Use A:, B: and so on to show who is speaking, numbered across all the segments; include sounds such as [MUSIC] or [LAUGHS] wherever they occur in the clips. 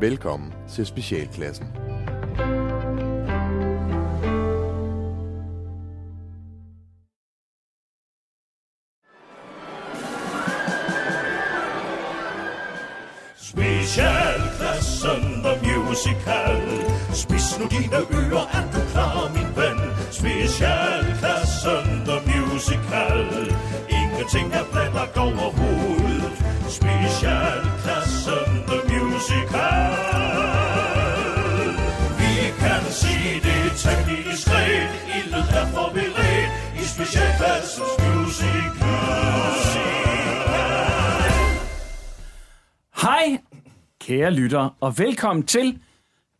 A: Velkommen til Specialklassen.
B: Specialklassen The Musical Spis nu dine ører, er du klar, min ven? Specialklassen The Musical Ingenting er planlagt overhovedet Specialklassen The Musical Vi kan se det temmelig diskret Ildet er forberedt i specialklassens musical
C: Hej, kære lyttere, og velkommen til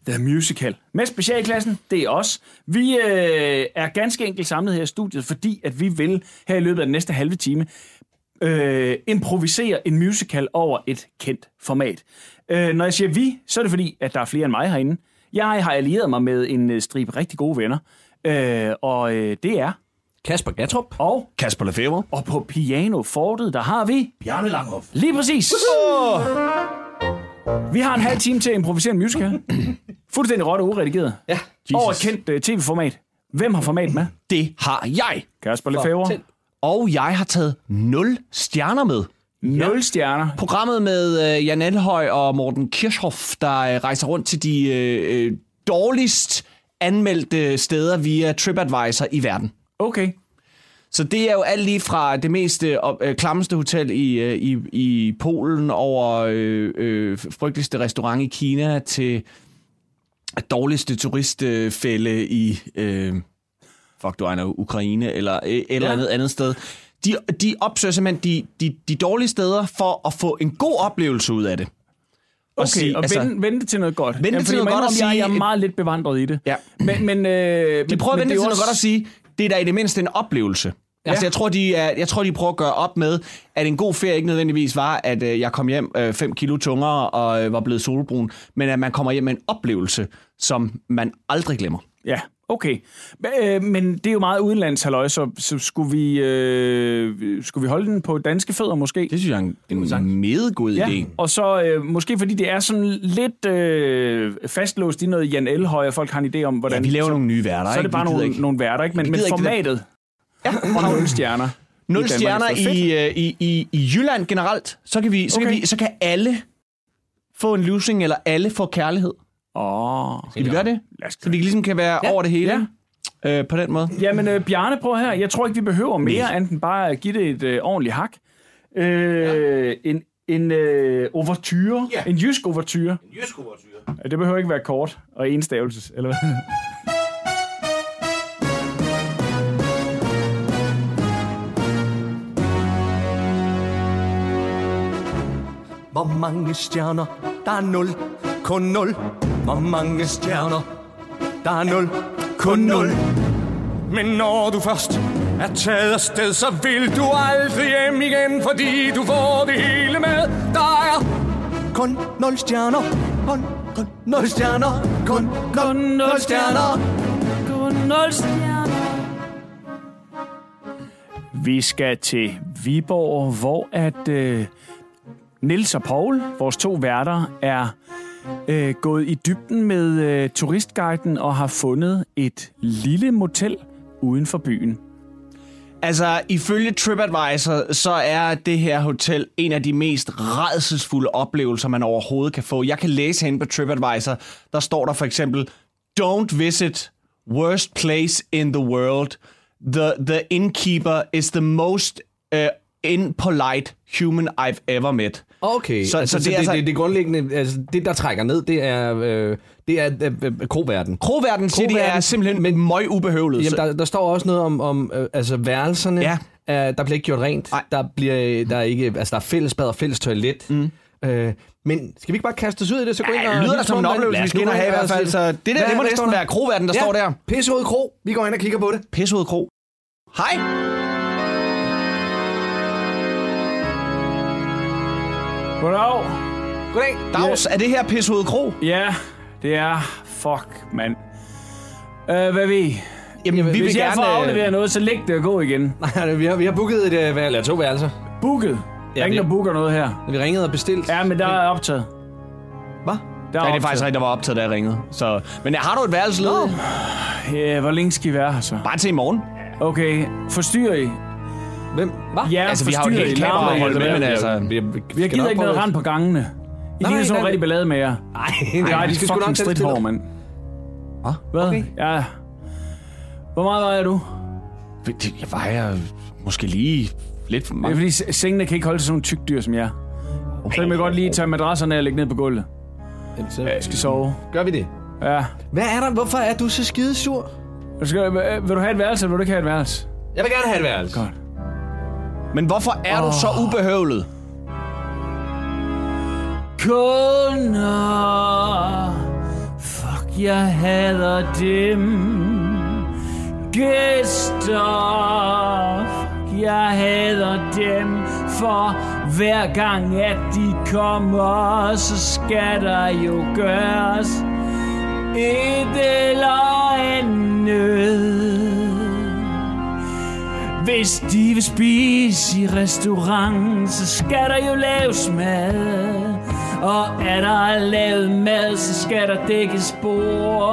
C: The Musical med specialklassen. Det er os. Vi øh, er ganske enkelt samlet her i studiet, fordi at vi vil her i løbet af den næste halve time øh, improvisere en musical over et kendt format. Øh, når jeg siger vi, så er det fordi, at der er flere end mig herinde. Jeg har allieret mig med en øh, stribe rigtig gode venner, øh, og øh, det er...
D: Kasper Gatrup.
C: Og,
D: Kasper Lefebvre.
C: og på pianofortet, der har vi...
B: Bjarne Langhoff
C: Lige præcis. Vi har en halv time til at improvisere en
D: [CLEARS THROAT]
C: musical. Fuldstændig råt og uredigeret. Ja, Over et kendt uh, tv-format. Hvem har format med?
D: Det har jeg.
C: Kasper Lefebvre.
D: Og jeg har taget 0 stjerner med.
C: Nul stjerner.
D: Programmet med øh, Jan Elhøj og Morten Kirchhoff, der øh, rejser rundt til de øh, øh, dårligst anmeldte steder via TripAdvisor i verden.
C: Okay.
D: Så det er jo alt lige fra det mest øh, op- øh, klammeste hotel i, øh, i, i Polen over øh, øh, frygteligste restaurant i Kina til dårligste turistfælde i øh, fuck du ejner Ukraine eller øh, et eller
C: Ja.
D: andet andet sted. De, de opsøger simpelthen de, de, de dårlige steder for at få en god oplevelse ud af det. Og
C: Okay,
D: sige,
C: og
D: altså-
C: vende, vende det til noget godt.
D: det
C: Jamen,
D: til
C: fordi
D: noget
C: man
D: godt og
C: indrømmer, Jeg, jeg er
D: sige-
C: meget lidt bevandret i det.
D: Ja.
C: Men, men, øh,
D: De
C: men,
D: prøver at
C: men
D: vente
C: det
D: til
C: er jo
D: noget
C: også-
D: godt at sige, det er da i det mindste en oplevelse. Ja. Altså, jeg tror, de er, jeg tror, de prøver at gøre op med, at en god ferie ikke nødvendigvis var, at øh, jeg kom hjem 5 fem kilo tungere og øh, var blevet solbrun, men at man kommer hjem med en oplevelse, som man aldrig glemmer.
C: Ja, okay. Men, øh, men det er jo meget udenlands, halløj, så, så skulle, vi, øh, skulle vi holde den på danske fødder måske?
D: Det synes jeg er en, en meget god
C: Ja,
D: idé.
C: og så øh, måske fordi det er sådan lidt øh, fastlåst i noget Jan Elhøj, og folk har en idé om, hvordan...
D: Ja, vi laver
C: så,
D: nogle nye værter,
C: Så er det bare nogle, nogle værter, ikke? Men,
D: Vi
C: men
D: gider ikke det der-
C: formatet og nul stjerner. i
D: Nul
C: Danmark,
D: stjerner
C: det er fedt.
D: i, øh, i, i, i Jylland generelt. Så kan, vi, så,
C: Okay.
D: kan vi, så kan alle få en losing, eller alle få kærlighed.
C: Åh,
D: Kan vi gøre det?
C: lad os
D: Så
C: gøre
D: vi
C: det.
D: ligesom kan være ja. over det hele ja. øh, på den måde.
C: Jamen, øh, Bjarne, prøv her. Jeg tror ikke, vi behøver mere, end bare at give det et øh, ordentligt hak. Øh, ja. En, en øh, overture.
B: Ja.
C: En jysk overture.
B: Jysk overtyr
C: Det behøver ikke være kort og enstavelses, eller hvad?
E: Hvor mange stjerner? Der er nul. Kun nul. Hvor mange stjerner? Der er nul. Kun nul. Men når du først er taget afsted, så vil du aldrig hjem igen, fordi du får det hele med. Der er kun nul stjerner. Kun, kun nul stjerner. Kun, kun nul stjerner.
C: Vi skal til Viborg, hvor at øh, Nils og Paul, vores to værter, er øh, gået i dybden med øh, turistguiden og har fundet et lille motel uden for byen.
D: Altså, ifølge TripAdvisor, så er det her hotel en af de mest redselsfulde oplevelser, man overhovedet kan få. Jeg kan læse hen på TripAdvisor, der står der for eksempel, Don't visit worst place in the world. The, the innkeeper is the most uh, impolite human I've ever met.
F: Okay,
D: Så-
F: så, altså,
D: så det
F: så,
D: er
F: det, det,
D: altså-
F: det, det grundlæggende, altså det der trækker ned, det er, øh, det er øh, øh, kroverden.
D: Kroverden siger, de er
F: Kroverden,
D: simpelthen men, møg ubehøvlet.
F: Jamen, der, der står også noget om, om øh, altså værelserne,
D: Ja.
F: øh, der bliver ikke gjort rent,
D: Nej.
F: der, bliver, øh, der, er ikke, altså, der er fælles bad og fælles toilet. Mm. Øh, men skal vi ikke bare kaste os ud i det, så gå ind
D: Ja,
F: og...
D: det lyder da
F: hilse
D: som
F: på
D: en
F: dem,
D: oplevelse,
F: Lad
D: vi
F: os
D: skal
F: nu
D: ind og
F: gå
D: have i hvert
F: og
D: fald.
F: sige-
D: Så det der,
F: Hvad
D: det
F: er
D: må
F: der
D: næsten
F: står der?
D: være kroverden, der ja. står der.
F: Pisserød kro, vi går ind og kigger på det.
D: Pisseud Kro. Hej!
C: Goddag!
F: Goddag.
D: Dags, er det her Pisseud Kro?
C: Ja, det er... Fuck, mand. Øh, hvad ved I?
D: Jamen, vi
C: Hvis
D: vil
C: jeg
D: gerne...
C: får
D: øh, [LAUGHS]
C: afleveret noget, så læg det og gå igen.
F: Nej, vi har, vi har booket et, øh, vær- eller to værelser.
C: Booket. Ja,
F: Ja,
C: der er ingen,
F: vi-
C: der booker noget her.
F: Vi ringede og bestilte.
C: Ja, men der er optaget.
F: Hvad?
C: Der
D: Ja, det er
C: optaget.
D: faktisk rigtigt, der var optaget, da jeg ringede. Så, men har du et værelse ledigt?
C: Ja, Øh, hvor længe skal I være her så?
D: Bare til i morgen.
C: Okay, forstyrrer I?
F: Hvem? Hvad?
C: Ja,
D: Altså, vi har jo
C: forstyrrer
D: et
C: I?
D: helt kamera
C: Larmer
D: at
C: I?
D: holde med, men altså...
F: Vi, vi,
C: Vi har givet ikke noget rand på gangene. I
F: Nej,
C: ligner sådan
F: nej,
C: nogle rigtig
F: nej.
C: ballade med jer.
F: Nej, nej,
C: Nej,
F: vi
C: det skal
F: skal sgu nok
C: fucking
F: tage det stille.
C: stridthår, mand.
F: Hva?
C: Hvad?
F: Okay.
C: Ja. Hvor meget vejer du?
D: Det- Jeg vejer måske lige lidt for
C: Det er
D: meget.
C: fordi, se- sengene kan ikke holde til sådan nogle tyk dyr som jer. Så kan man godt lige tage madrasserne og lægge ned på gulvet.
F: Jamen, så
C: Jeg skal sove.
F: gør vi det.
C: Ja.
F: Hvad er der? Hvorfor er du så skidesur?
C: Du skal, øh, vil du have et værelse, eller vil du ikke have et værelse?
F: Jeg vil gerne have et værelse.
C: Godt.
D: Men hvorfor er du så ubehøvlet?
C: Kunder Fuck, jeg hader dem Gæster Fuck, jeg hader dem For hver gang, at de kommer Så skal der jo gøres Et eller andet hvis de vil spise i restaurant, så skal der jo laves mad. Og er der lavet mad, så skal der dækkes bord.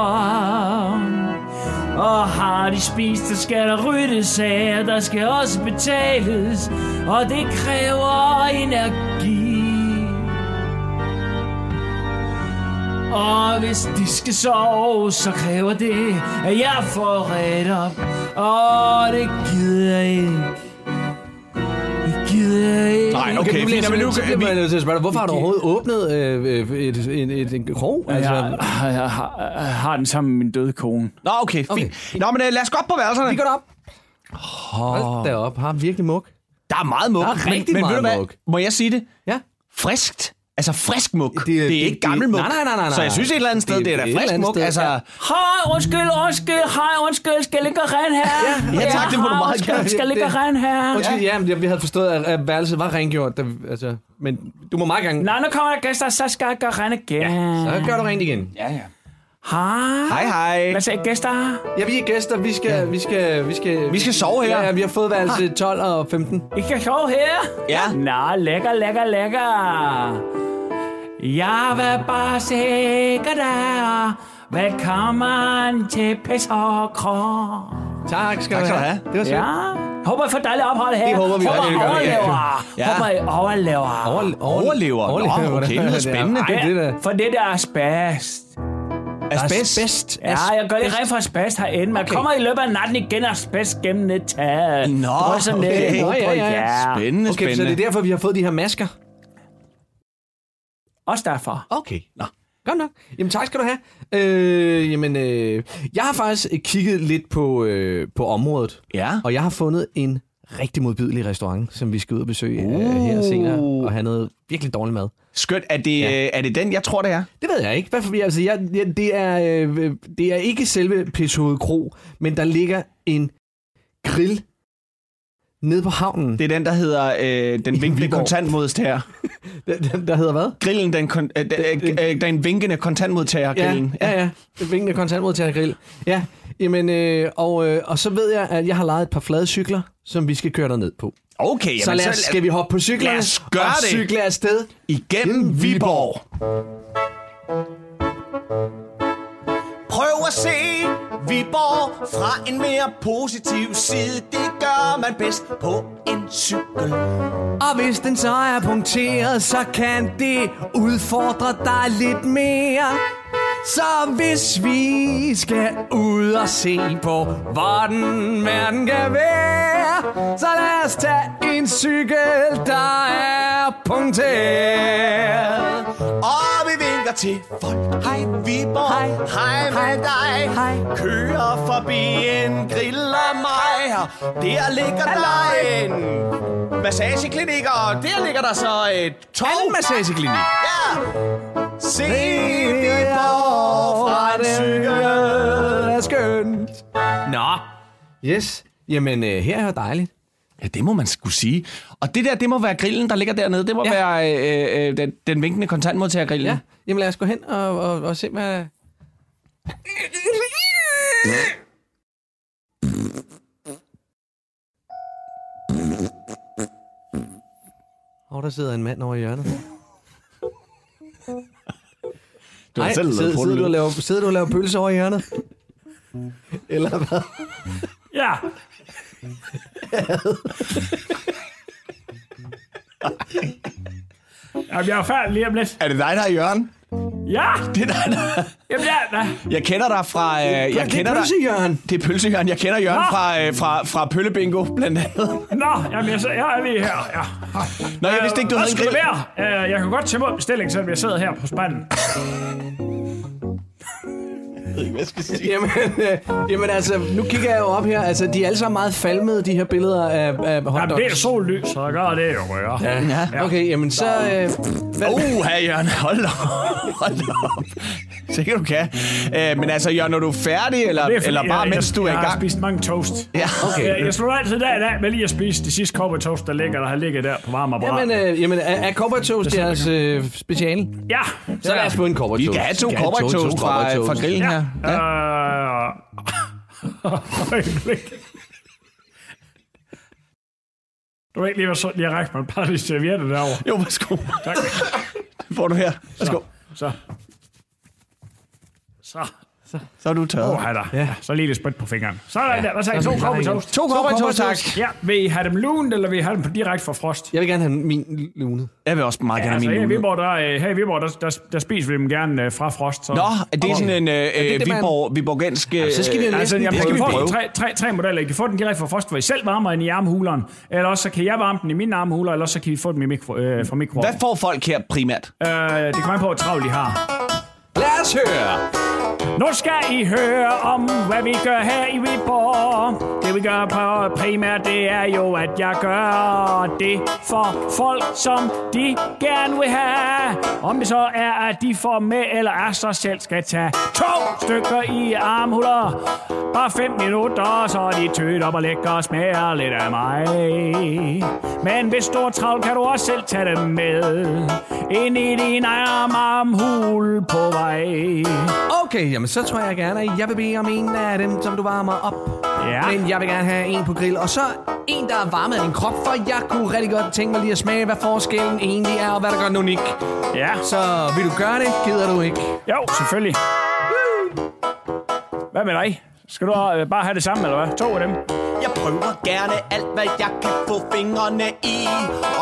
C: Og har de spist, så skal der ryddes af, og der skal også betales. Og det kræver energi. Og hvis de skal sove, så kræver det, at jeg får ret op. Og det gider jeg ikke. Det gider jeg ikke.
D: Nej, okay.
F: nu
D: fint,
F: bliver
D: men nu,
F: jeg simpelthen- så bliver man
D: vi,
F: nødt til at spørge dig, hvorfor har du overhovedet åbnet øh, øh, et, et, et, et krog? Altså,
C: Jeg, jeg, jeg, har, jeg har den sammen med min døde kone.
D: nå, okay,
F: Okay.
D: fint. Nå, men øh, lad os gå op på værelserne.
F: vi går derop. Hold da op, har virkelig muk.
D: Der er meget mug.
F: Der er
D: Men-
F: rigtig
D: men,
F: meget
D: ved du hvad?
F: mug.
D: Må jeg sige det?
F: Ja.
D: Friskt. Altså frisk mug. Det,
F: det-
D: det, er
F: det-
D: ikke gammel
F: det-
D: mug.
F: nej, nej, nej, nej, nej.
D: Så jeg synes et eller andet sted, det,
F: Det-
D: er da
F: det er et
D: frisk
F: eller andet
D: mug.
F: sted,
D: Altså,
F: ja.
C: Hej, undskyld, undskyld, hej, undskyld, skal jeg ligge og rent her?
F: Ja,
D: ja, tak, det må du
C: hej,
D: meget
C: undskyld,
D: gerne.
C: Skal jeg ligge og
F: Det-
C: rent her?
F: Undskyld, ja, men jeg- vi havde forstået, at, at værelset var rengjort. Da, vi- altså, men du må meget gerne...
C: Nej, nu kommer der gæster, så skal jeg gøre rent igen.
F: Så gør du rent igen. Ja.
C: Hej.
D: hej, hej.
C: Hvad sagde gæster?
F: ja, vi er gæster. Vi skal, vi skal, vi skal,
D: Vi skal sove her.
F: Ja, ja, vi har fået værelse 12 og 15.
C: I kan sove her?
D: Ja.
C: Nå, lækker, lækker, lækker. Jeg vil bare sikre dig. Velkommen til Pis og Krog.
F: Tak skal,
D: Tak skal du have.
F: Det var sødt.
C: Ja. Håber, I får dejligt ophold her.
F: Det håber vi
C: håber,
F: også, det
C: I
F: gør vi.
C: overlever.
D: Ja.
C: Håber, I overlever.
F: Overle- overle-
D: Overlever. Nå, okay, det lyder spændende.
F: Ej, det er da-
C: For det der er spast.
D: Asbest.
F: Asbest.
C: Ja, jeg gør lige rent for asbest herinde. Man okay. kommer i løbet af natten igen og asbest gennem et tag.
D: Nå,
C: Drysser ned
D: okay.
C: i hovedet
F: Ja,
C: på
F: ja, ja.
C: jer.
D: Spændende,
F: Okay, så
D: spændende.
F: det er derfor, vi har fået de her masker.
C: Også derfor.
F: Okay. Nå. Godt nok. Jamen tak skal du have. Øh, jamen, øh, jeg har faktisk øh, kigget lidt på, øh, på området,
D: Ja.
F: og jeg har fundet en rigtig modbydelig restaurant, som vi skal ud og besøge øh, her senere, og have noget virkelig dårlig mad.
D: Skønt. Er det,
F: Ja.
D: øh, er det den, jeg tror, det er?
F: Det ved jeg ikke. Hvad for, altså, jeg, jeg, det, er, øh, øh, det er ikke selve Pishoved Kro, men der ligger en grill nede på havnen,
D: Det er den, der hedder øh, den vinkende
F: Viborg.
D: kontantmodtager.
F: der, der- der hedder hvad?
D: Grillen, den, kon- øh, den, øh, øh, den vinkende kontantmodtager. Grillen.
F: Ja, ja, ja. Det vinkende kontantmodtager grill. Ja, jamen, øh, og, øh, og så ved jeg, at jeg har lejet et par flade cykler, som vi skal køre derned på.
D: Okay,
F: så
D: jamen,
F: lad os, skal vi hoppe på cyklerne
D: lad os gøre
F: og
D: det.
F: cykle afsted.
D: igennem Viborg. Prøv at se Viborg fra en mere positiv side. Det gør man bedst på en cykel.
F: Og hvis den så er punkteret, så kan det udfordre dig lidt mere. Så hvis vi skal ud og se på, hvordan verden kan være, så lad os tage en cykel, der er punkteret.
D: Og vi vinker til folk. Hej Viborg, hej, hej med dig. Hej. Kører forbi en grill og mig. Der ligger der en massageklinik, og der ligger der så et tog.
F: Anden massageklinik.
D: Ja! Se Viborg fra en cykel.
F: er skønt.
D: Nå,
F: Yes, jamen øh, her er jo dejligt.
D: Ja, det må man skulle sige. Og det der, det må være grillen, der ligger dernede. Det må ja.
F: Ja.
D: være øh, øh, den, den vinkende kontantmodtagergrillen.
F: Ja, jamen lad os gå hen og, og, og se, hvad... Og der sidder en mand over i hjørnet.
A: Du har selv lavet
F: sidder, du og
A: pornolyd.
F: laver, sidder du og laver pølser over i hjørnet?
A: Eller hvad?
C: Ja. Jamen, jeg er færdig lige om lidt.
D: Er det dig, der er Jørgen?
C: Ja!
D: Det er dig, der...
C: Jamen, ja, ja.
D: Jeg kender dig fra... Øh, jeg kender dig...
F: Jørgen.
D: Det er pølsehjørn. Jeg kender Jørgen
C: Nå.
D: fra, øh, fra, fra Pøllebingo, blandt andet.
C: Nå, jamen, jeg, så- jeg er lige her. Ja.
D: Nå, jeg vidste ikke, du
C: Hvad
D: havde en
C: skal det
D: grill.
C: være? Øh, Jeg kan godt tage mod bestilling, selvom jeg sidder her på spanden.
F: Jamen, øh, jamen altså, nu kigger jeg jo op her. Altså, de er alle sammen meget falmede, de her billeder af, af
C: Jamen, det er
F: hotdogs.
C: sollys, så jeg gør det jo, rører.
F: Ja. Okay, jamen så... Øh, hvad,
D: Uh, her Jørgen. Hold da op. Hold da op. Sikkert du kan. Øh, men altså, Jørgen, når du er færdig, eller,
C: Det er fordi,
D: eller bare
C: jeg,
D: mens
C: jeg,
D: du er i
C: Jeg har
D: gang...
C: spist mange toast.
D: Ja,
C: Okay. Jeg, jeg slutter altid dagen af med lige at spise de sidste kopper toast, der ligger, der har ligget der på varmeapparatet.
F: jamen, øh, jamen er, er cowboytoast jeres øh, speciale?
C: ja,
F: Så lad os få en
D: Vi
F: cowboytoast.
D: skal have to
F: Vi
D: cowboy toast fra,
F: cowboytoast.
D: fra grillen
C: Ja.
D: her.
C: ja. Øh... [LAUGHS] Øjeblik. du ved ikke lige, hvad sådan lige rækker mig et par af de servietter derovre.
D: Jo, værsgo.
C: Tak.
D: Får du her. Værsgo.
C: Så. Så.
D: Så er du tørret.
C: Åh, der. Ja. Så lige lidt sprit på fingeren. Så er der, ja. der. Hvad tager I? To kopper toast?
D: To cowboy toast, tak.
C: Ja, vil I have dem lunt, eller vil I have dem på direkte fra frost?
F: Jeg vil gerne have min lune.
D: Jeg vil også meget
C: Ja,
D: gerne
C: altså, her
D: have
C: i
D: min lune.
C: Viborg, der, øh, her i Viborg, der, der, der spiser vi dem gerne øh, fra frost. Så.
D: Nå, er det sådan en øh,
F: det, man-
D: Viborg, Viborgensk... Øh,
F: så skal vi have
C: Altså, jeg
F: Det
D: skal vi
C: prøver
D: prøve.
C: at tre, tre, tre modeller. I kan få den direkte fra frost, hvor I selv varmer den i armhuleren. Eller også så kan jeg varme den i min armhuler, eller også så kan vi få den i mikro, øh, fra mikro.
D: Hvad får folk her primært?
C: Øh, det kommer an på, hvor travlt I har.
F: Lad os høre!
C: Nu skal I høre om, hvad vi gør her i Viborg. Det vi gør på primært, det er jo, at jeg gør det for folk, som de gerne vil have. Om det så er, at de får med, eller er sig selv skal tage to stykker i armhuller. Bare fem minutter, så er de tødt op og lækker og smager lidt af mig. Men hvis du er travlt, kan du også selv tage dem med. Ind i din egen armhul på vej.
F: Okay, jamen så tror jeg gerne, at jeg vil bede om en af dem, som du varmer op.
C: Ja.
F: Men jeg vil gerne have en på grill, og så en, der er varmet af din krop, for jeg kunne rigtig godt tænke mig lige at smage, hvad forskellen egentlig er, og hvad der gør den unik.
C: Ja,
F: Så vil du gøre det, gider du ikke.
C: jo, selvfølgelig. Hvad med dig? Skal du øh, bare have det samme, eller hvad? To af dem?
D: Jeg prøver gerne alt, hvad jeg kan få fingrene i.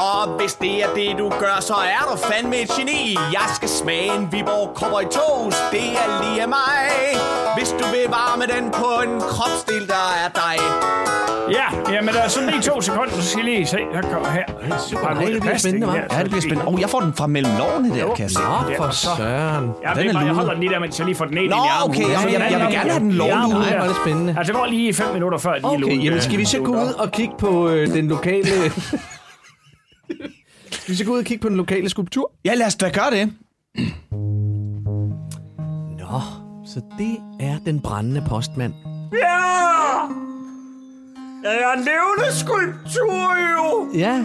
D: Og hvis det er det, du gør, så er du fandme et geni. Jeg skal smage en Viborg Cowboy Toast, det er lige af mig. Hvis du vil varme den på en kropsdel, der er dig.
C: Ja, jamen der er sådan lige to sekunder, så skal I lige se. Der kommer her. Bare
F: Nej, det bliver
C: plastik
F: spændende, hva'?
C: her, så lige-
D: Oh, jeg får den fra mellem lårene der, kan jeg se.
F: Nå, for
C: så-
F: søren.
C: Ja,
D: Den
C: det
D: er
C: er bare, jeg
D: lunet.
C: holder den lige der, mens jeg lige får den ned i
D: Nå,
C: armen.
D: okay, jeg-
F: jeg- jeg vil gerne have den
C: lovlunet.
F: lovlunet. Hvor er det spændende.
C: Altså, det går lige fem minutter før, at de er
F: Okay,
C: lunet.
F: jamen skal vi så gå ud og kigge på øh, den [LAUGHS] lokale... skal vi så gå ud og kigge på den lokale skulptur?
D: Ja, lad os da gøre det.
F: Nå, så det er den brændende postmand.
C: Ja! Jeg er en levende skulptur, jo!
F: Ja.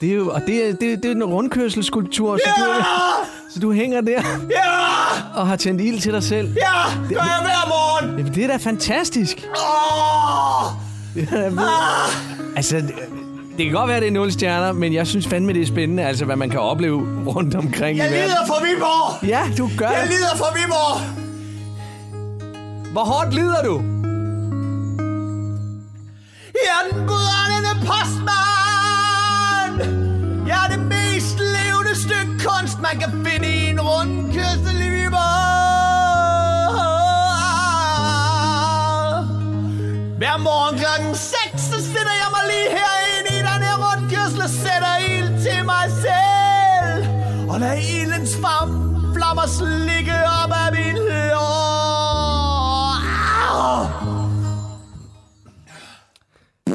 F: Det er jo, og det er, det, er- det er en rundkørselsskulptur, så, du, så du hænger der
D: Ah, Ja!
F: og har tændt ild til dig selv.
D: Ja! Gør jeg hver morgen!
F: Jamen, det er da fantastisk.
D: Åh! Ah.
F: Altså, det, det kan godt være, det er nul stjerner, men jeg synes fandme, det er spændende, altså hvad man kan opleve rundt omkring i verden.
D: for Viborg!
F: Ja, du gør det.
D: lider for Viborg!
F: Hvor hårdt lider du?
D: Jeg er den brændende postmand! Jeg er det mest levende stykke kunst, man kan finde i en rundkørsel i Viborg! Hver morgen klokken 6, så sætter jeg mig lige herinde i den her rundkørsel og sætter ild til mig selv. Og lad ildens farve flammer slikke op af min hår. Au!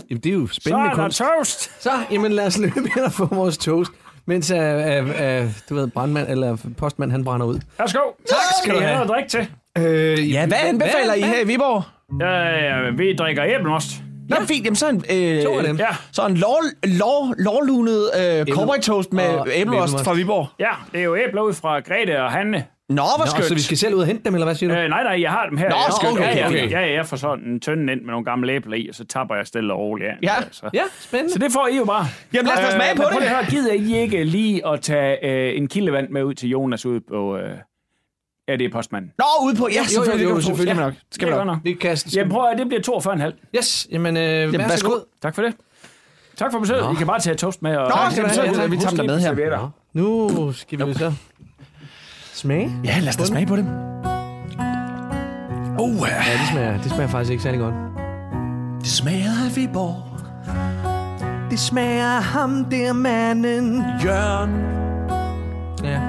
F: Jamen, det er jo
C: Så
F: spændende
C: er der
F: kunst.
C: toast.
F: Så, jamen lad os løbe hen og få vores toast, mens uh, uh, uh, du ved, brandmand eller postmand, han brænder ud.
C: Værsgo. Tak
F: skal du
C: I
F: have.
C: noget at drikke til?
F: Øh, ja,
D: Hvad anbefaler I her i Viborg?
C: Ja, vi drikker æblemost.
D: Ja. Nå, fint. Jamen, så en, øh,
F: To af dem.
C: Ja.
D: Så en lov, lov, lovlunet øh, cowboy toast med
F: og
D: æbleost
F: æbleost.
D: fra Viborg.
C: Ja, det er jo æbler ud fra Grete og Hanne.
D: Nå, hvor
F: Nå,
D: skønt.
F: så vi skal selv ud og hente dem, eller hvad siger du?
C: Øh, nej, nej, jeg har dem her.
D: Nå,
C: Ja,
D: skønt,
C: ja,
D: okay,
C: ja,
D: okay.
C: Ja, ja, jeg får sådan en tynde ind med nogle gamle æbler i, og så tapper jeg stille og roligt af.
D: Ja.
C: så.
F: Ja, spændende.
C: Så det får I jo bare.
D: Jamen, lad os da smage på
C: men
D: det.
C: Prøv lige at høre, gider I ikke lige at tage øh, en kildevand med ud til Jonas ude på... Øh, Ja, det er postmanden.
D: Nå, ude på, ja, selvfølgelig. det kan
F: jo,
D: du tro.
F: selvfølgelig
D: ja,
F: nok.
D: det Skal man nok.
C: nok.
F: Det kasten.
C: Jamen prøv at høre, det bliver 42,5.
F: Yes, jamen, øh, jamen
D: værsgo.
C: Tak for det. Tak for besøget. I kan bare tage toast med. Og
D: Nå,
C: Tak.
D: skal du have,
C: Husk
D: ja, vi tager dem
C: lige
D: med her.
C: servietter.
F: Nu skal vi jo så smage.
D: Ja, lad os da smage på det. Oh, ja.
F: Ja, det smager, det smager faktisk ikke særlig godt.
D: det smager af Viborg.
F: Det smager ham der manden.
D: Jørgen.
F: Ja.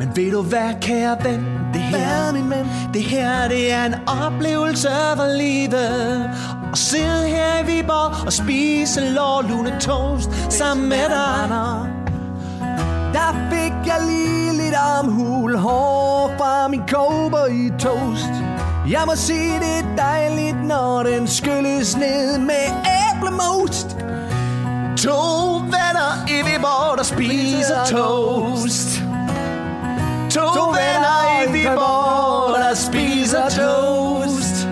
D: Men ved du hvad, kære ven? Det her, min ven? det her, det er en oplevelse for livet. At sidde her i Viborg og spise lårlune toast sammen med dig.
F: Der fik jeg lige lidt armhul hår fra min kåber i toast. Jeg må sige, det er dejligt, når den skylles ned med æblemost.
D: To venner i Viborg, der spiser toast. To, to venner i Viborg, der spiser toast.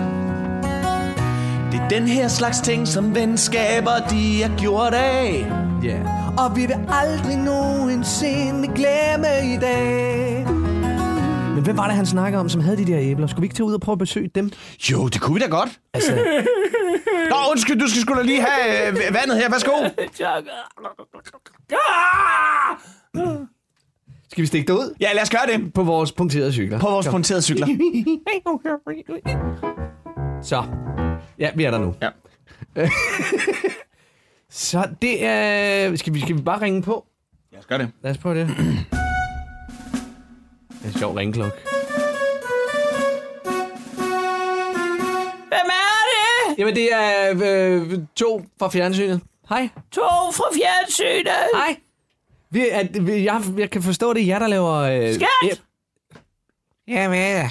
D: Det er den her slags ting, som venskaber de er gjort af.
F: Og vi vil aldrig nogensinde glemme i dag. Men hvem var det, han snakker om, som havde de der æbler? Skulle vi ikke tage ud og prøve at besøge dem?
D: Jo, det kunne vi da godt.
F: Altså,
D: Nå, undskyld, du skal sgu da lige have øh, vandet her. Værsgo.
F: [LAUGHS] skal vi stikke det ud
D: Ja, lad os gøre det.
F: på vores punkterede cykler?
D: På vores punkterede cykler.
F: Så. Ja, vi er der nu.
D: Ja.
F: [LAUGHS] Så det er... Skal vi, skal vi bare ringe på?
D: Lad os gøre det.
F: Lad os prøve det. [CLEARS THROAT] Det er en sjov ringklokke.
G: Hvem er det?
F: Jamen, det er øh, to fra fjernsynet. Hej.
G: To fra fjernsynet.
F: Hej. Vi, er, vi, jeg, jeg kan forstå, det er jer, der laver... Øh,
G: Skat!
F: æb- Jamen,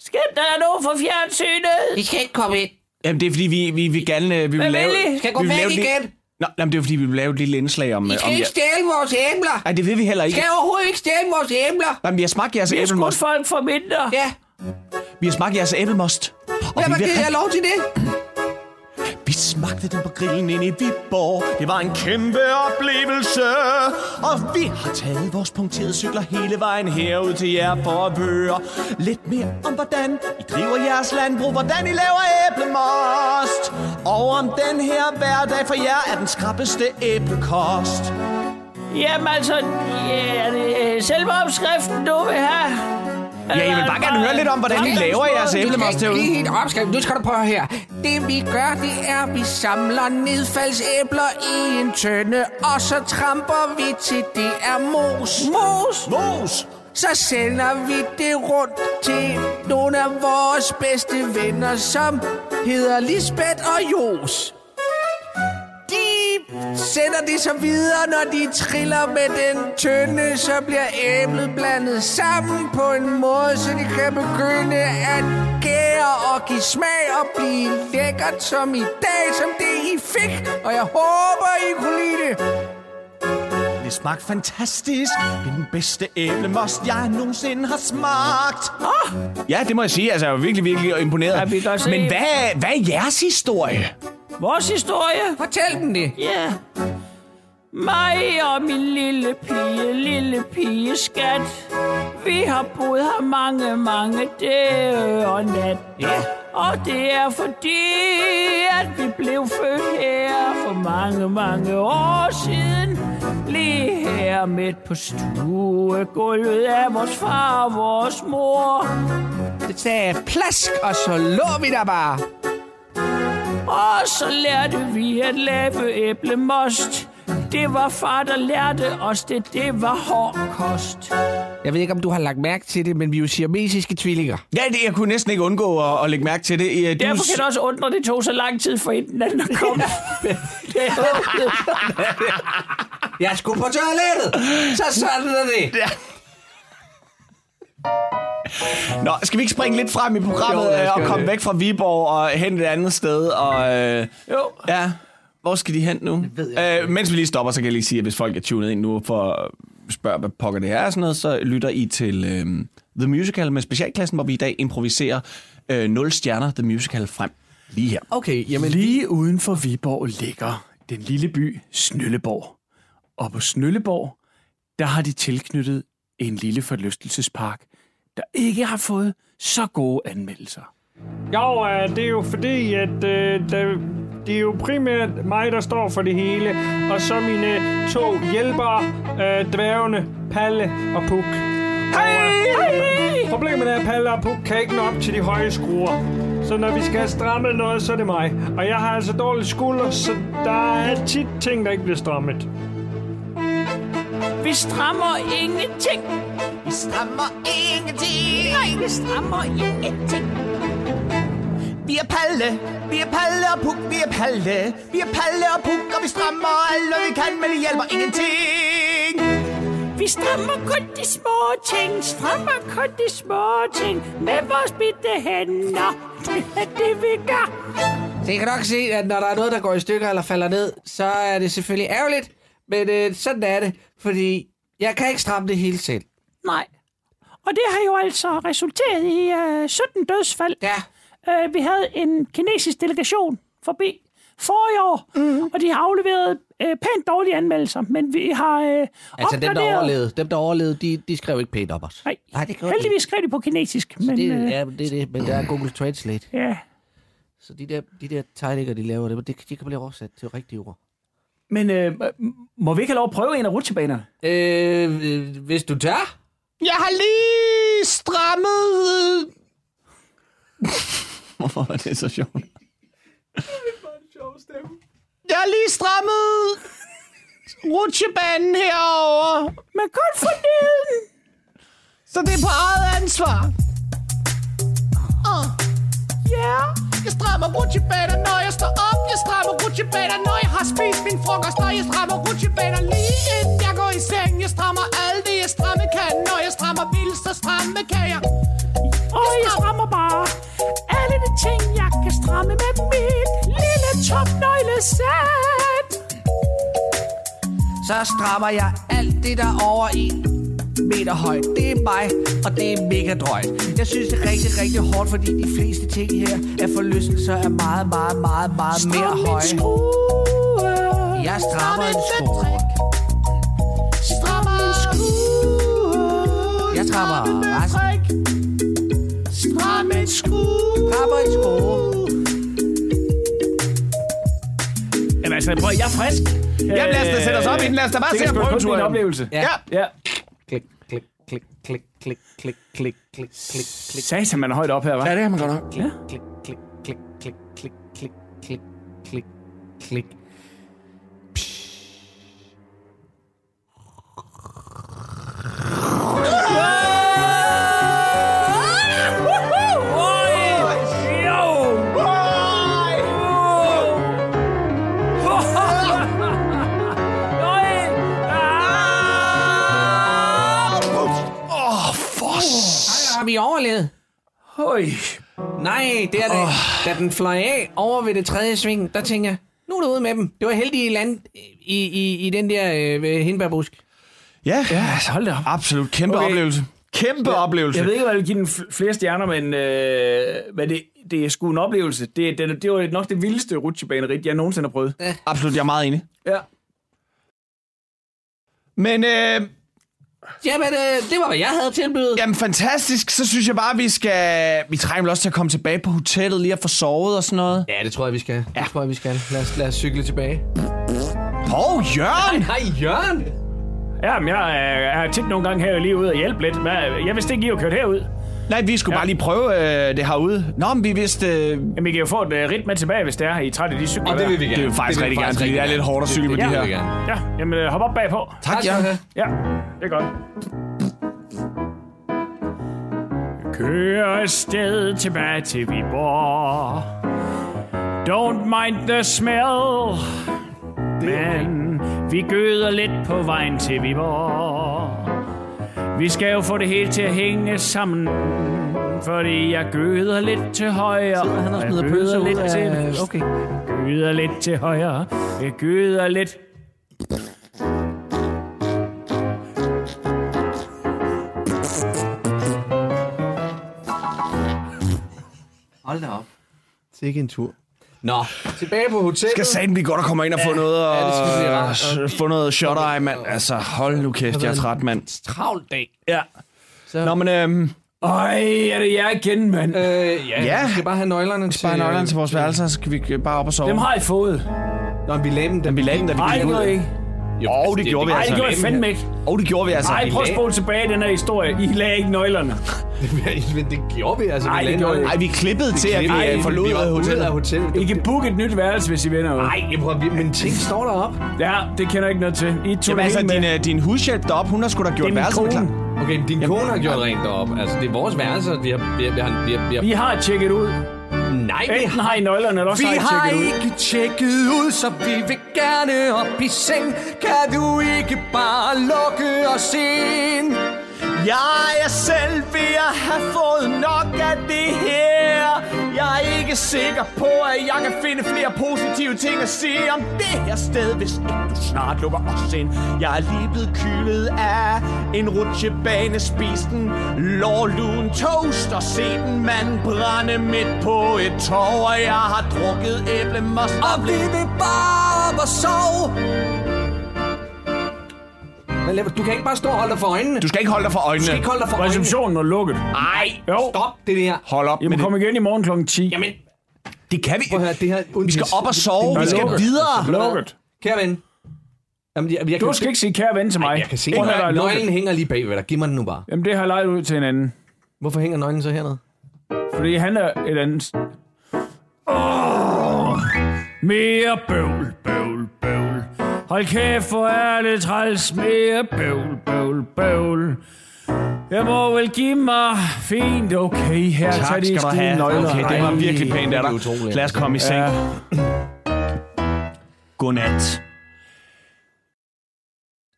G: Skat, der er nogen fra fjernsynet.
H: I skal ikke komme ind.
D: Jamen, det er fordi, vi, vi, vi gerne øh, vi vil
G: Hvad
D: lave...
G: vil I?
H: Skal jeg gå
D: vi vil
H: væk
D: lave et lille-
H: igen?
D: Nå, nej, men det er fordi, vi vil lave et lille indslag om...
H: I
D: øh,
H: skal
D: om
H: ikke stjæle vores æbler.
D: Nej, det vil vi heller ikke.
H: Skal jeg overhovedet ikke stjæle vores æbler?
D: Nej, men vi har smagt jeres
G: Jeg skudt
D: æblemost.
G: folk for mindre.
H: Ja.
D: Vi har smagt jeres æblemost. Og
H: Hvem
D: vi,
H: har
D: vil
H: givet jer
D: rigtig-
H: lov til det?
D: vi smagte den på grillen inde i Viborg. Det var en kæmpe oplevelse. Og vi har taget vores punkterede cykler hele vejen herud til jer for at høre lidt mere om, hvordan I driver jeres landbrug, hvordan I laver æblemost. Og om den her hverdag for jer er den skrappeste æblekost.
G: Jamen altså, ja, er det øh, selve opskriften, du vil have?
D: Ja, jeg vil bare gerne høre lidt om, hvordan I laver jeres
H: Du skal
D: æblemost
H: ikke
D: herude.
H: lige helt opskrive. Nu skal du prøve her. Det vi gør, det er, at vi samler nedfaldsæbler i en tønde, og så tramper vi til det er mos. Mos?
D: Mos!
H: Så sender vi det rundt til nogle af vores bedste venner, som hedder Lisbeth og Jos. De sender det så videre, når de triller med den tynde, så bliver æblet blandet sammen på en måde, så de kan begynde at gære og give smag og blive lækkert som i dag, som det I fik. Og jeg håber, I kunne lide det.
D: Det smagte fantastisk. Det er den bedste æblemost, jeg nogensinde har smagt. Oh! Ja, det må jeg sige. Altså, jeg er virkelig, virkelig imponeret.
G: Ja, vi kan godt se.
D: Men hvad, hvad er jeres historie?
G: Vores historie?
H: Fortæl dem det.
G: Ja. Mig og min lille pige, lille pige skat. Vi har boet her mange, mange dage og nat. Ja. Og det er fordi, at vi blev født her for mange, mange år siden. Lige her midt på stuegulvet af vores far og vores mor.
H: Det sagde plask, og så lå vi der bare.
G: Og så lærte vi at lave æblemost. Det var far, der lærte os det. Det var hård kost.
H: Jeg ved ikke, om du har lagt mærke til det, men vi er jo siamesiske tvillinger.
D: Ja, det, jeg kunne næsten ikke undgå at, at lægge mærke til det. I, øh, Du,
G: Derfor kan det også undre, at det tog så lang tid for en den anden at
C: [LAUGHS]
G: komme.
H: Jeg skulle på toilettet! Så sådan er det.
D: Nå, skal vi ikke springe lidt frem i programmet
F: Jo, lad os
D: øh, og
F: gøre
D: komme
F: det.
D: væk fra Viborg og hen et andet sted? Og, øh,
G: jo.
D: ja, hvor skal de hen nu? Øh, mens vi lige stopper, så kan jeg lige sige, at hvis folk er tunet ind nu for at spørge, hvad pokker det er og sådan noget, så lytter I til øh, The Musical med specialklassen, hvor vi i dag improviserer øh, 0 stjerner The Musical frem lige her.
F: okay, jamen...
C: Lige uden for Viborg ligger den lille by Snølleborg. Og på Snølleborg, der har de tilknyttet en lille forlystelsespark, der ikke har fået så gode anmeldelser.
I: Jo, øh, det er jo fordi, at øh, der, det er jo primært mig, der står for det hele. Og så mine to hjælpere, øh, dværgene Palle og Puk. Hej! Problemet er, at Palle og Puk kan ikke nå op til de høje skruer. Så når vi skal have strammet noget, så er det mig. Og jeg har altså dårlige skuldre, så der er tit ting, der ikke bliver strammet.
H: Vi strammer ingenting.
F: Vi strammer ingenting.
H: Nej, vi strammer ingenting.
F: Vi er Palle, vi er Palle og Puk, vi er Palle. Vi er Palle og Puk, og vi strammer alt, hvad vi kan, men det hjælper ingenting.
H: Vi strammer kun de små ting. Strammer kun de små ting. Med vores bitte hænder. Det er det, vi gør.
F: Så I kan nok se, at når der er noget, der går i stykker eller falder ned, så er det selvfølgelig ærgerligt. Men øh, sådan er det, fordi jeg kan ikke stramme det hele selv.
H: Nej. Og det har jo altså resulteret i øh, 17 dødsfald.
F: Ja,
H: Øh, vi havde en kinesisk delegation forbi forrige år, mm.
C: Mhm.
H: og de har afleveret øh, pænt dårlige anmeldelser, men vi har øh,
F: altså dem, der
H: opgraderet-
F: overlevede, dem, der overlevede de, de skrev ikke pænt om os.
H: Nej,
F: Nej, det gør de
H: heldigvis skrev de på kinesisk, men
F: Det,
H: øh,
F: ja, det er det, men der er Google Translate.
H: ja.
F: Så de der, de der tegninger, de laver, det, de kan blive oversat til rigtige ord.
C: Men øh, m- må vi ikke have lov at prøve en af rutsjebanerne?
F: Øh, øh, hvis du tør.
D: Jeg har lige strammet... øh. Hvorfor var det så sjovt? Jeg har lige strammet rutsjebanen herover,
H: Men kun for neden!
D: så det er på eget ansvar. Åh. Ja, jeg strammer rutsjebaner, når jeg står op. Jeg strammer rutsjebaner, når jeg har spist min frokost. Når jeg strammer rutsjebaner lige inden jeg går i seng. Jeg strammer alt det, jeg stramme kan. Når jeg strammer vildt, så stramme kan jeg.
H: Og jeg strammer bare alle de ting, jeg kan stramme med mit lille topnøglesæt.
F: Så strammer jeg alt det, der er over en meter højt. Det er mig, og det er mega drøjt. Jeg synes, det er rigtig, rigtig hårdt, fordi de fleste ting her er forlystelser er meget, meget, meget, meget mere
H: Stram en
F: høje.
H: skrue.
F: Jeg strammer en sko.
H: Strammer en skrue.
F: Jeg strammer resten.
H: Stram en skrue.
F: Strammer en sko.
C: Jamen altså, prøv, jeg er frisk.
D: Jamen lad os da sætte os op i den. Lad os da bare
C: Det
D: se
C: kan
D: at
C: sgu da
D: prøve
C: kun blive en
D: turen.
C: oplevelse.
D: Ja.
C: ja.
F: Klik, klik, klik, klik, klik, klik, klik, klik, klik, klik,
C: Satan, man er højt op her, hva'?
D: det har man godt nok.
C: Ja.
F: klik, klik, klik, klik, klik, klik, klik, klik, klik. Har vi overlevet?
C: Høj.
F: Nej, det er det. Oh. Da den fløj af over ved det tredje sving, der tænkte jeg, nu er det ude med dem. Det var heldigt i land i, i, i den der øh, ved hindbærbusk.
D: Ja,
C: Altså, hold da op.
D: absolut. Kæmpe
C: Okay.
D: Kæmpe oplevelse.
C: Jeg ved ikke, om jeg vil give den fl- flere stjerner, men, øh, men det, det er sgu en oplevelse. Det, det, det var nok det vildeste rutsjebanerit, jeg nogensinde har prøvet.
D: Absolut, jeg er meget enig.
C: Ja.
D: Men øh,
F: Jamen, øh, det var, hvad jeg havde tilbydet.
D: jamen, fantastisk, så synes jeg bare, vi skal... Vi trænger vel også til at komme tilbage på hotellet, lige at få sovet og sådan noget.
F: Ja, det tror jeg, vi skal. Ja. Det tror jeg, vi skal. Lad os, lad os cykle tilbage.
D: Hov, Jørgen!
F: Hej, Jørgen!
C: Ja, men jeg, øh, jeg har tit nogle gange her lige ud og hjælpe lidt. Hvad, jeg vidste ikke, I var kørt herud.
D: Nej, vi skulle ja. bare lige prøve øh, det herude. Nå, men vi vidste... Øh,
C: Jamen, I kan jo få et øh, rit med tilbage, hvis det er, I er trætte af de cykler. der.
D: det vil vi faktisk rigtig gerne, fordi det er lidt hårdt at cykle med de
C: det vil
D: her.
C: vi Ja, jamen øh, hop op bagpå.
F: Altså,
D: Tak, Jørgen.
C: Ja, det er godt. Kører afsted tilbage til Viborg. Don't mind the smell. Men vi gøder lidt på vejen til Viborg. Vi skal jo få det hele til at hænge sammen. Fordi jeg gøder lidt til højre.
F: Sidder han og
C: jeg
F: smider
C: gøder
F: pølser ud
C: lidt til
F: af...
C: venstre.
F: Okay.
C: Gyder lidt til højre. Jeg gyder lidt.
F: Hold da op.
J: Sikke en tur.
F: Nå, tilbage på hotellet.
D: Skal satan blive godt at komme ind og få noget, og,
F: ja, det skal blive rart.
D: og få noget shot eye, mand. Altså, hold nu kæft, jeg er træt, mand.
F: Travl dag.
D: Ja. Nå, men øhm,
C: Øj, er det jer igen, mand? Øh.
F: Øh, ja,
D: Ja.
F: ja, vi skal bare have nøglerne til...
D: bare nøglerne til vores værelser, så kan vi øh, bare op og sove.
C: Dem har I fået.
F: Nå, vi lagde dem, da
D: Men vi lagde dem, da vi
C: Nej, det
D: gik ud.
C: gjorde I ikke.
F: Jo,
D: Åh, det gjorde vi
C: Nej,
D: altså.
C: det gjorde I fandme ikke.
D: Og det gjorde vi altså.
C: Nej, prøv at spole tilbage i den her historie. I lagde ikke nøglerne.
F: [LAUGHS] Men det gjorde vi, altså.
C: Nej,
F: vi
C: det
F: lagde
C: gjorde
D: Nej,
F: nøglerne.
D: vi klippede til, at vi
F: Ej,
D: øh, forlod
F: vi var ude
D: hotellet.
F: af hotellet.
C: I kan booke et nyt værelse, hvis I vinder. Nej.
F: Nej, prøv at vi- men ting står derop.
C: Ja, det kender jeg ikke noget til. I tog
D: Jamen
C: det
D: altså,
C: hele med.
D: din, øh, din hushjælp deroppe, hun har sgu da gjort
C: min
D: værelsen
C: kone.
D: klar.
F: Okay, men din kone har gjort rent derop. Altså, det er vores værelser. Vi har... Vi har, vi har, vi har, vi har
C: I har tjekket ud.
F: nej, vi
C: Enten har I nøglerne, eller også
K: Vi har
C: har I tjekket ud.
K: ikke tjekket ud, så vi vil gerne op i seng. Kan du ikke bare lukke os ind?
D: Jeg er selv ved at have fået nok af det her. Jeg er ikke sikker på, at jeg kan finde flere positive ting at sige om det her sted, hvis ikke du snart lukker os ind. Jeg er lige blevet kylet af en rutsjebane, spist en lårlun toast og set en mand brænde midt på et tog, og jeg har drukket æblemost og
K: Og vi vil bare op og sove.
F: Hvad laver du? Du kan ikke bare stå og holde dig for øjnene.
D: Du skal ikke holde dig for øjnene.
F: skal ikke holde dig for øjnene.
C: Receptionen er lukket.
F: Nej,
C: Jo.
F: stop det der.
D: Hold op
C: Jamen,
D: med
C: kom
D: det.
C: igen i morgen kl. 10. Jamen,
D: Det kan vi.
F: Prøv at høre, det her...
D: Vi skal op og sove. Vi skal
C: lukket.
D: videre.
C: lukket.
F: Kære ven. Jamen, jeg, jeg
C: Du
F: kan
C: skal ikke sige kære ven til mig.
F: Jeg kan se,
C: Prøv at høre, der
F: at
C: er lukket.
F: nøglen hænger lige bagved dig. Giv mig den nu bare.
C: Jamen, det har jeg lejet ud til en anden.
F: Hvorfor hænger nøglen så hernede?
C: Fordi han er et andet... Oh, mere bøvl, bøvl, bøvl. Hold kæft, hvor er det træls. Mere bøvl, bøvl, bøvl. Jeg må vel give mig fint. Okay, her tager
D: Tak
C: de
D: skal du
C: skide
D: have.
C: nøgler.
D: Okay, det var
C: Ej.
D: virkelig pænt af
F: det er utroligt.
D: dig. Lad os komme i seng. Godnat.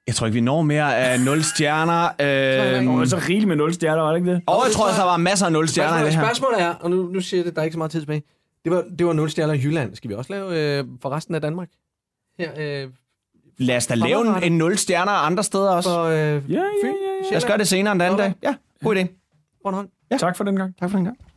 D: Jeg tror ikke, vi når mere af [LAUGHS] 0 stjerner. Øh,
F: Øhm,
C: Nå, men så rigeligt med nul stjerner, var det ikke det?
D: og jeg tror, også, der var masser af 0 stjerner i
F: Spørgsmålet,
D: det her.
F: spørgsmålet er, og nu, nu siger jeg det, der er ikke så meget tid tilbage. Det var, det var 0 stjerner i Jylland. Skal vi også lave øh, for resten af Danmark? Her, øh,
D: Lad os da lave en- en 0 stjerner andre steder også.
F: for øh,
C: Ja, ja, ja.
F: Fyn,
C: ja.
D: Lad os gøre det senere en anden dag. Ja, god idé.
F: Bornholm.
C: Tak for den gang.
D: Tak for den gang.